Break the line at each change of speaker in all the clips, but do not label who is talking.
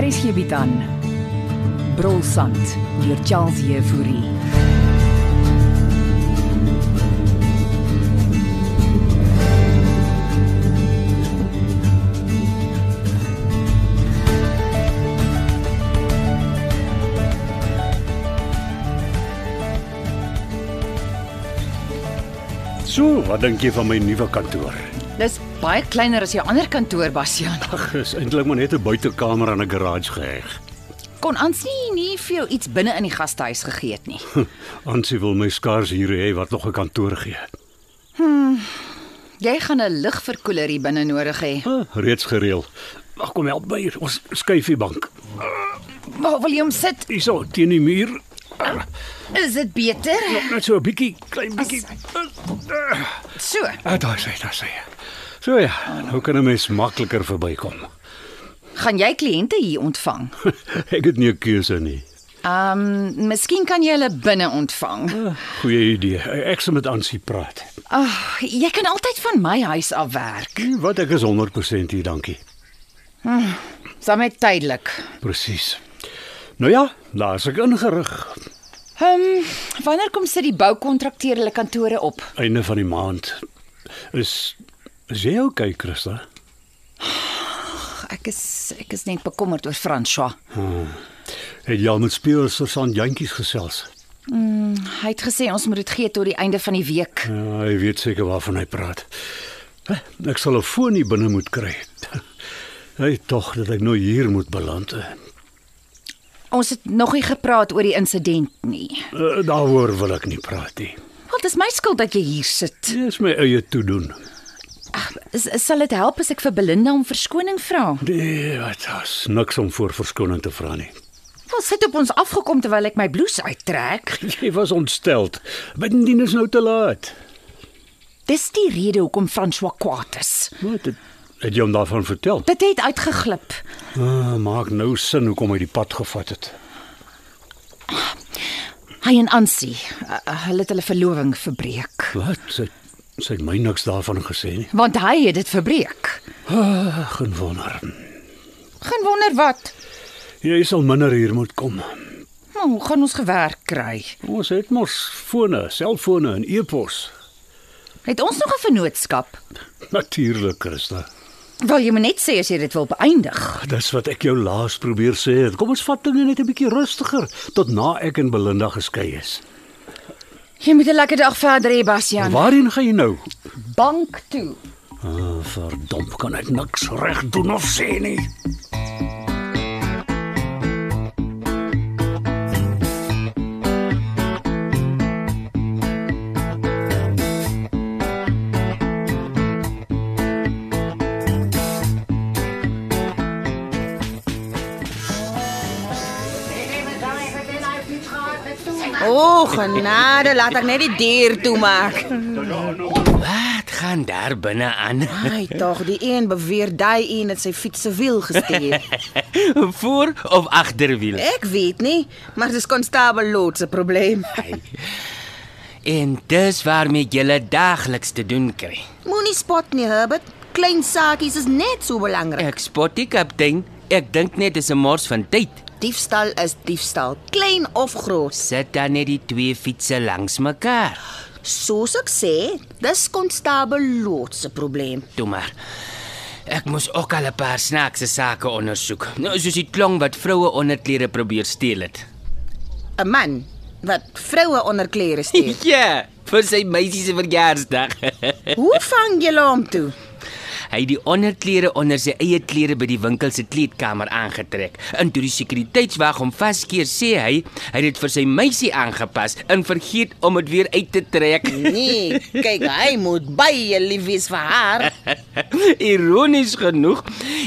Hier is hierby dan. Brolsand deur Charles Euphorie.
So, wat dink jy van my nuwe kantoor?
Dis baie kleiner as jou ander kantoor, Bastian.
Ag, is eintlik maar net 'n buitekamer aan 'n garage geheg.
Kon ons nie nie vir jou iets binne in die gastehuis gegee het nie.
Ansie wil my skaars hier hê wat nog 'n kantoor gee.
Jy gaan 'n ligverkoeler hier binne nodig hê.
Ah, reeds gereël. Wag, kom help my hier. Ons skuif die bank.
Waar wil jy hom sit?
Hierso teen die muur. Ah,
Is dit beter?
Net so 'n bietjie, klein bietjie. Ah,
So.
Ah, daar sê, daar sê. So ja, nou kan 'n mens makliker verbykom.
Gaan jy kliënte hier ontvang?
Ek het nie 'n keuse nie.
Ehm, um, miskien kan jy hulle binne ontvang.
Goeie idee. Ek sal met Ansie praat.
Ag, Ah, jy kan altyd van my huis af werk.
Hm, Wat ek is 100% hier, dankie.
Saam met tydelik.
Presies. Nou ja, daar's ek ingerig.
Ehm, um, wanneer kom sit die boukontrakteur hulle kantore op?
Einde van die maand. Is is jy okay, Christa?
Ek is ek is net bekommerd oor François.
Ja. Het jy al met spelers vir San Jantjies gesels?
Hy het gesê ons moet dit gee tot die einde van die week.
Ja, hy weet seker waarvan hy praat. Eh, Ek sal 'n foon hier binne moet kry. Hy tog dat ek nou hier moet beland. eh.
Ons het nog nie gepraat oor die insident nie.
Eh, Daaroor wil ek nie praat nie.
Wat is my skuld dat jy hier sit?
Dis my eie toedoen.
Is, is, sal dit help as ek vir Belinda om verskoning vra?
Nee, wat as niks om voor verskoning te vra nie.
Ons sit op ons afgekom terwyl ek my blouse uittrek.
Jy was ontstel. Bindien is nou te laat.
Dis die rede hoekom François kwaad is.
Wat het, het jy hom daarvan vertel?
Dit het uitgeglip.
Ah, maak nou sin hoekom hy die pad gevat het.
Hy en Ansie, uh, uh, hulle het hulle verloving verbreek.
Wat? Sy sy het my niks daarvan gesê nie.
Want hy het dit verbreek.
Ag, en wonder.
Geen wonder wat.
Jy sal minder hier moet kom.
Maar hoe gaan ons gewerk kry?
Ons het mos fone, selfone en e-pos.
Het ons nog 'n vennootskap?
Natuurlik, Christa.
Wel, jy moet net sê as jy dit wil beëindig.
Dis wat ek jou laas probeer sê. het. Kom ons vat dinge net 'n bietjie rustiger tot na ek en Belinda geskei is.
Jy moet 'n lekker dag verder hê, Bastian.
Waarheen gaan jy nou?
Bank toe.
Ah, verdomp, kan ek niks reg doen of sê nie.
O, oh, genade, laat ek net die deur toemaak.
Wat gaan daar binne aan?
Ai, tog, die een beweer daai een het sy fiets se wiel gesteek.
Voor of agterwiel?
Ek weet nie, maar dis konstabel Lot se probleem.
En dis waarmee jy daagliks te doen kry.
Moenie spot nie, Herbert. Klein saakies is net so belangrik.
Ek spot die kaptein. Ek dink net dis 'n mors van tyd.
Ja, Diefstal is diefstal, klein of groot.
Sit dan net die twee fietsse langs mekaar.
Soos ek sê, dis konstabel Lot se probleem.
Toe maar. Ek moes ook al 'n paar snaakse sake ondersoek. Nou soos die klong wat vroue onderklere probeer steel het.
'n Man wat vroue onder klere steek.
Ja, vir sy meisie se verjaarsdag.
Hoe vang jy hom toe?
Hy het die onderklere onder sy eie klere by die winkel se kleedkamer aangetrek. In toe die sekuriteitswag hom vaskeer, sê hy, hy het dit vir sy meisie aangepas en vergeet om dit weer uit te trek.
Nee, kyk, hy moet baie lief wees vir haar.
Ironies genoeg,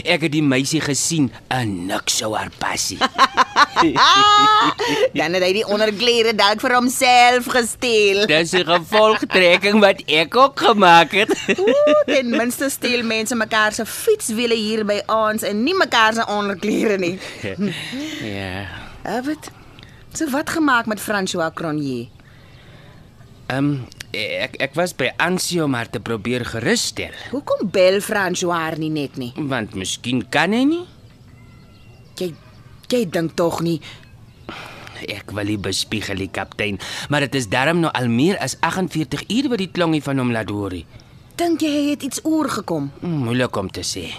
ek het die meisie gesien en niks sou haar pas nie.
Ah, dan het hy die onderklere dalk vir homself gesteel.
Dis 'n gevolgtrekking wat ek ook gemaak het.
Ooh, Ten minste steel mense mekaar se fietswiele hier by ons en nie mekaar se onderklere nie.
ja.
Wat? So wat gemaak met François Cronje?
Ehm um, ek ek was by Ansio maar te probeer gerusstel,
Hoekom bel François haar nie net nie?
want miskien kan hy nie.
Jy jy dink tog nie.
Ek wil nie bespiegel die kaptein, maar dit is darm nou al meer as 48 uur wat die klongie van hom laat hoor. Mm,
Dink jy hy het iets oorgekom?
Moeilik om te sê.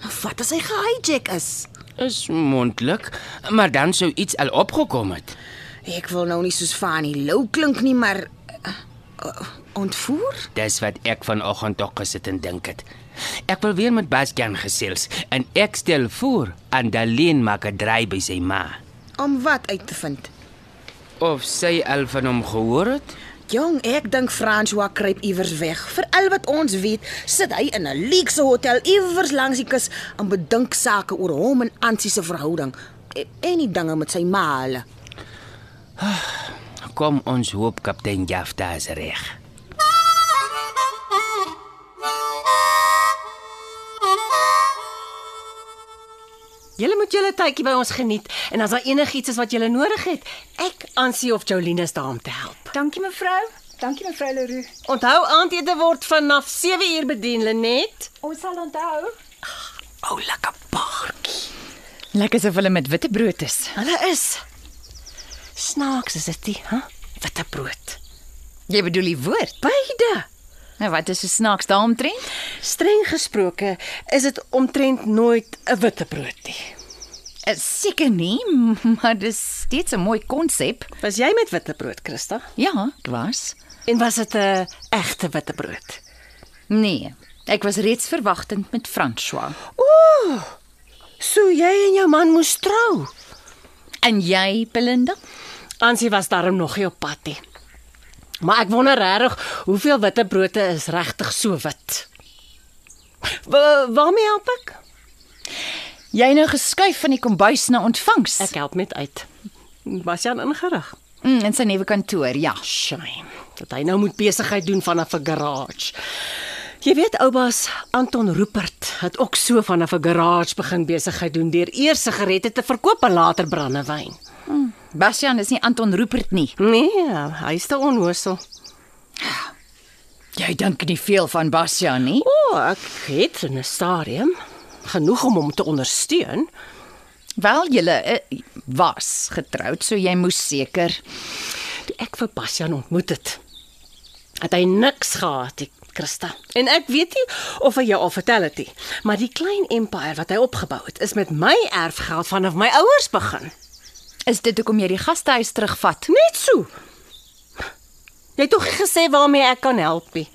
Nou wat as hy gehijack is?
Is mondelik, maar dan sou iets al opgekom het.
Ek wil nou nie soos Fanny Lou klink nie, maar uh, uh, ontvoer?
Dis wat ek vanoggend ook gesit en dink het. Ek wil weer met Bastian gesels en ek stel voor Andaleen maak 'n draai by sy ma.
Om wat uit te vind?
Of sy al van hom gehoor het?
Jong, ek dink François kruip iewers weg. Vir al wat ons weet, sit hy in 'n luukse hotel iewers langs die kus en bedink sake oor hom en Ansie se verhouding en, en die dinge met sy ma hulle.
Kom ons hoop kaptein Jafta is reg.
Julle moet julle tydjie by ons geniet en as daar enigiets is wat julle nodig het, ek aansie of Jolene is daar om te help.
Dankie mevrou. Dankie mevrou Leroux.
Onthou aandete word vanaf 7uur bedien, Lenet.
Ons sal onthou.
O, lekker paartjie.
Lekker asof hulle met witte brood is.
Hulle is snaaks is dit, hè? Huh? Witte brood.
Jy bedoel die woord.
Beide.
Nou wat is so snaaks daaromtrent?
Streng gesproke is dit omtrent nooit 'n witte brood nie.
Eh, Seker nie, maar dis steeds 'n mooi konsep.
Was jy met witte brood, Christa?
Ja, ek was.
En was dit 'n egte witte brood?
Nee, ek was reeds verwagtend met François.
Ooh! So jy en jou man moes trou.
En jy, Belinda?
Ansie was daarom nog nie op pad nie. Maar ek wonder regtig hoeveel witbrote is regtig so wit. Wa- Waarmee help ek?
Jy nou geskuif van die kombuis na ontvangs.
Ek help met uit. Was jy aan ingerig?
Mm, in sy nuwe kantoor, ja.
Shame. Dat hy nou moet besigheid doen vanaf 'n garage. Jy weet oupas Anton Rupert het ook so vanaf 'n garage begin besigheid doen deur eers sigarette te verkoop en later brandewyn.
Bastian is nie Anton Rupert nie.
Nee, hy's te onnoosel.
Jy dink nie veel van Bastian nie.
O, oh, ek het 'n stadium genoeg om hom te ondersteun.
Wel, julle eh, was getroud, so jy moes seker.
Toe ek vir Bastian ontmoet het, het hy niks gehad, die Christa. En ek weet nie of hy jou al vertel het nie, maar die klein empire wat hy opgebou het, is met my erfgeld vanaf my ouers begin.
Is dit hoekom jy die gastehuis terugvat?
Net so. Jy het tog nie gesê waarmee ek kan help nie.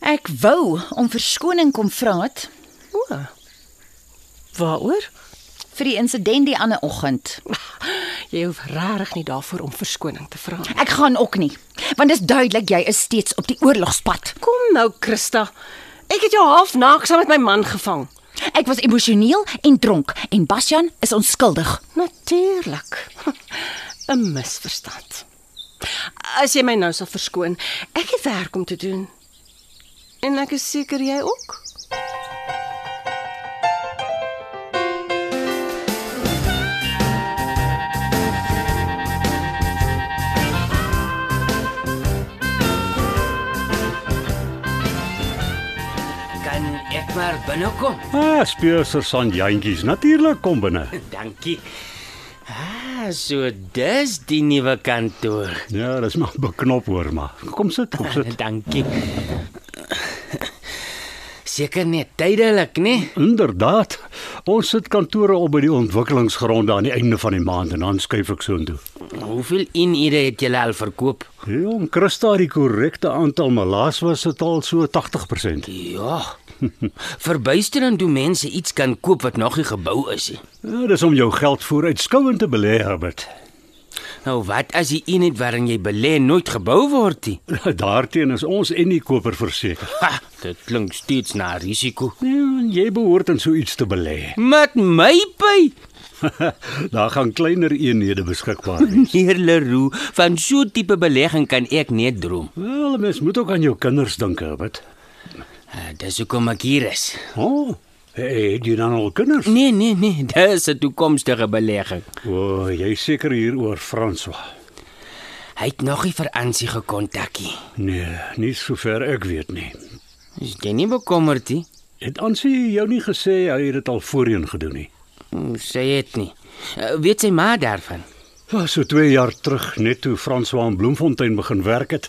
Ek wou om verskoning kom vra het
O. Waaroor?
vir die insident die ander oggend.
Jy hoef regtig nie daarvoor om verskoning te vra nie.
Ek gaan ook nie, want dit is duidelik jy is steeds op die oorlogspad.
Kom nou, Christa. Ek het jou half naaks saam met my man gevang.
Ek was emosioneel en dronk en Bastian is onskuldig.
Natuurlik. 'n Misverstand. As jy my nou sal verskoon, ek het werk om te doen. En ek is seker jy ook.
Kan ek maar binnekom?
Ah, speurser son jantjies. Natuurlik kom binne.
Dankie. Ah, so dis die nuwe kantoor.
Ja, dis maar beknop hoor maar. Kom sit, kom sit.
Dankie. Seker net tydelik, né?
Inderdaad. Ons sit kantore op by die ontwikkelingsgronde aan die einde van die maand en dan skuif ek soontoe.
Hoeveel inure het jy al verkoop?
Ja, om Christa die korrekte aantal malaas was dit al so 80%.
Ja. Verbuisterend hoe mense iets kan koop wat nog nie gebou is nie.
Ja, dis om jou geld vooruitskouend te belê, Herbert.
Nou wat as die eenheid waarin jy belê nooit gebou word nie?
Daarteen is ons en die koper verseker.
Ha, dit klink steeds na risiko.
Ja, jy behoort in so iets te belê.
Met my pay,
Daar gaan kleiner eenhede beskikbaar wees.
heer Leroux, van so 'n tipe belegging kan ek net droom.
Wel, mens moet ook aan jou kinders dink, Herbert.
Uh, dis hoekom ek hier is.
O, oh, het jy dan al kinders?
Nee, nee, nee, dis 'n toekomstige belegging.
O, oh, jy is seker hier oor François.
Hy het nog nie vir Ansie gekontakkie.
Nee, nie sover ek weet nie.
Is jy nie bekommerd nie?
Het Ansie jou nie gesê hy het dit al voorheen gedoen nie?
O, Sy het nie. Uh, Weet sy maar daarvan.
Was Ah, so 2 jaar terug net toe François in Bloemfontein begin werk het,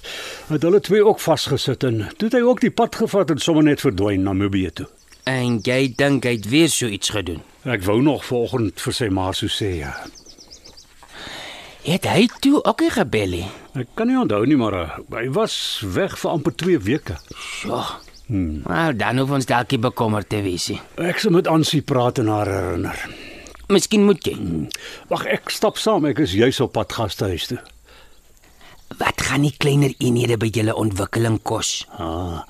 het hulle twee ook vasgesit en toe het hy ook die pad gevat en sommer net verdwyn na Mobie toe.
En jy dink hy het weer so iets gedoen.
Ek wou nog vanoggend vir sy ma so sê ja.
Het hy toe ook nie gebel nie.
Ek kan nie onthou nie, maar eh, hy was weg vir amper 2 weke.
So. Hmm. Nou dan hoef ons dalkie bekommerd te wees. nie.
Ek sal met Ansie praat en haar herinner.
Miskien moet jy.
Wag, ek stap saam, ek is juis op pad gastehuis toe.
Wat gaan die kleiner eenhede by julle ontwikkeling kos?
Ah,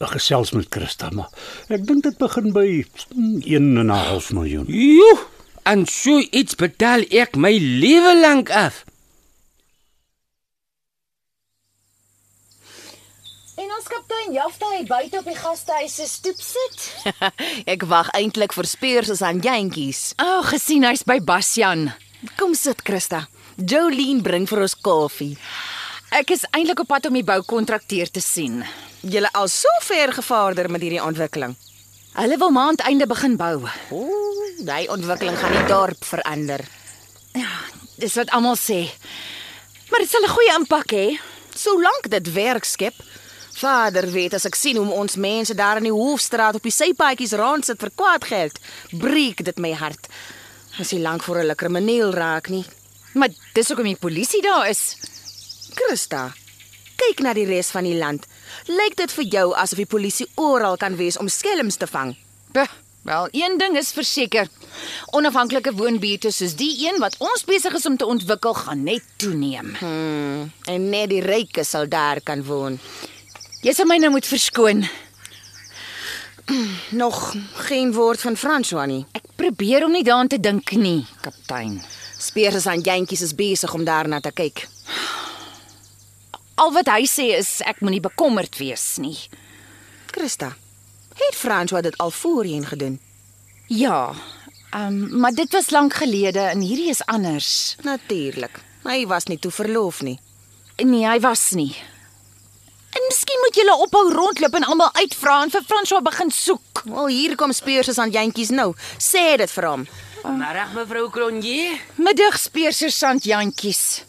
ek gesels met Christa, maar ek dink dit begin by mm, 1.5 miljoen.
Joe, en so iets betaal ek my lewe lank af.
En ons kaptein Jafta het buite op die gastehuis se stoep sit.
Ek wag eintlik vir speers as aan jentjies.
O, oh, gesien hy's by Basjan.
Kom sit, Christa. Jolene bring vir ons koffie.
Ek is eintlik op pad om die boukontrakteur te sien.
Julle al so ver gevaarder met hierdie ontwikkeling.
Hulle wil maandeinde begin bou.
Ooh, daai ontwikkeling gaan die dorp verander.
Ja, Dis wat almal sê. Maar dit sal 'n goeie impak hê.
Solank dit werk skep. Vader weet as ek sien hoe ons mense daar in die hoofstraat op die sypaadjies rond sit vir kwaad geld, breek dit my hart. As jy lank voor 'n krimineel raak nie.
Maar dis hoekom die polisie daar is.
Christa, kyk na die res van die land. Lyk dit vir jou asof die polisie oral kan wees om skelms te vang?
Puh, wel, een ding is verseker. Onafhanklike woonbuurte soos die een wat ons besig is om te ontwikkel, gaan net toeneem.
Hmm, en net die rykes sal daar kan woon.
Jy sal my nou moet verskoon.
Nog geen woord van François nie.
Ek probeer om nie daaraan te dink nie, kaptein.
Speers aan jentjies is besig om daarna te kyk.
Al wat hy sê is ek moenie bekommerd wees nie.
Christa, het François dit al voorheen gedoen?
Ja. Ehm, um, maar dit was lank gelede en hierdie is anders.
Natuurlik. Hy was nie toe verloof nie.
Nee, hy was nie. En miskien moet julle ophou rondloop en almal uitvra en vir François begin soek.
Wel, hier kom Speers aan jentjies nou. Sê dit vir hom.
Middag mevrou Cronje.
Middag speersersant Jantjies.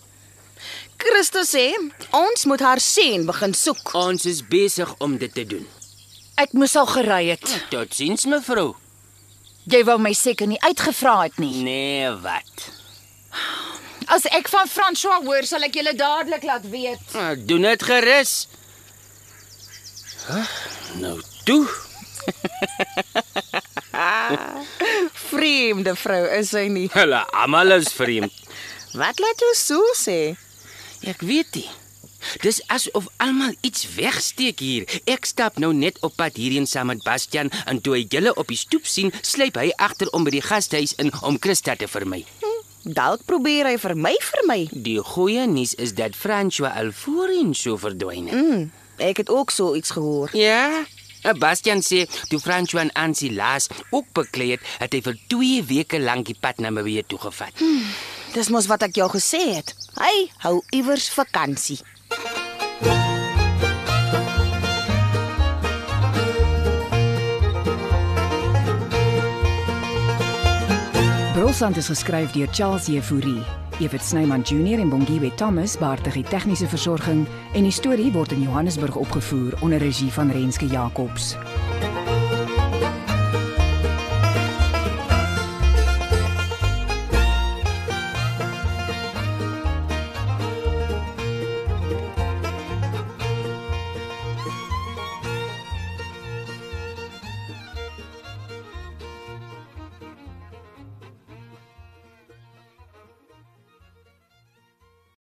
Christa sê ons moet haar sien begin soek.
Ons is besig om dit te doen.
Ek moes al gery het.
Totsiens mevrou.
Jy wou my seker nie uitgevra het nie.
Nee, wat?
As ek van François hoor, sal ek julle dadelik laat weet.
Ek doen dit gerus. Huh? Nou toe.
Vreemde vrou is hy nie.
Hulle almal is vreemd.
Wat laat jou so sê?
Ek weet nie. Dis asof almal iets wegsteek hier. Ek stap nou net op pad hierheen saam met Bastian en toe hy julle op die stoep sien, sluip hy agter om by die gastehuis in om Christa te vermy.
Dalk probeer hy vir my vir my.
Die goeie nuus is dat François al voorheen so verdwyn het.
Mm, ek het ook so iets gehoor.
Ja. en Bastian sê toe François en Ansie laas ook beklei het, het hy vir 2 weke lank die pad na Mbewe toe gevat.
Dis mos wat ek jou gesê het. Hy hou iewers vakansie.
Brosant is geskryf deur Charles Jefouri. Evit Snyman Junior en Bongwe Thomas baartig die tegniese versorging en die storie word in Johannesburg opgevoer onder regie van Renske Jacobs.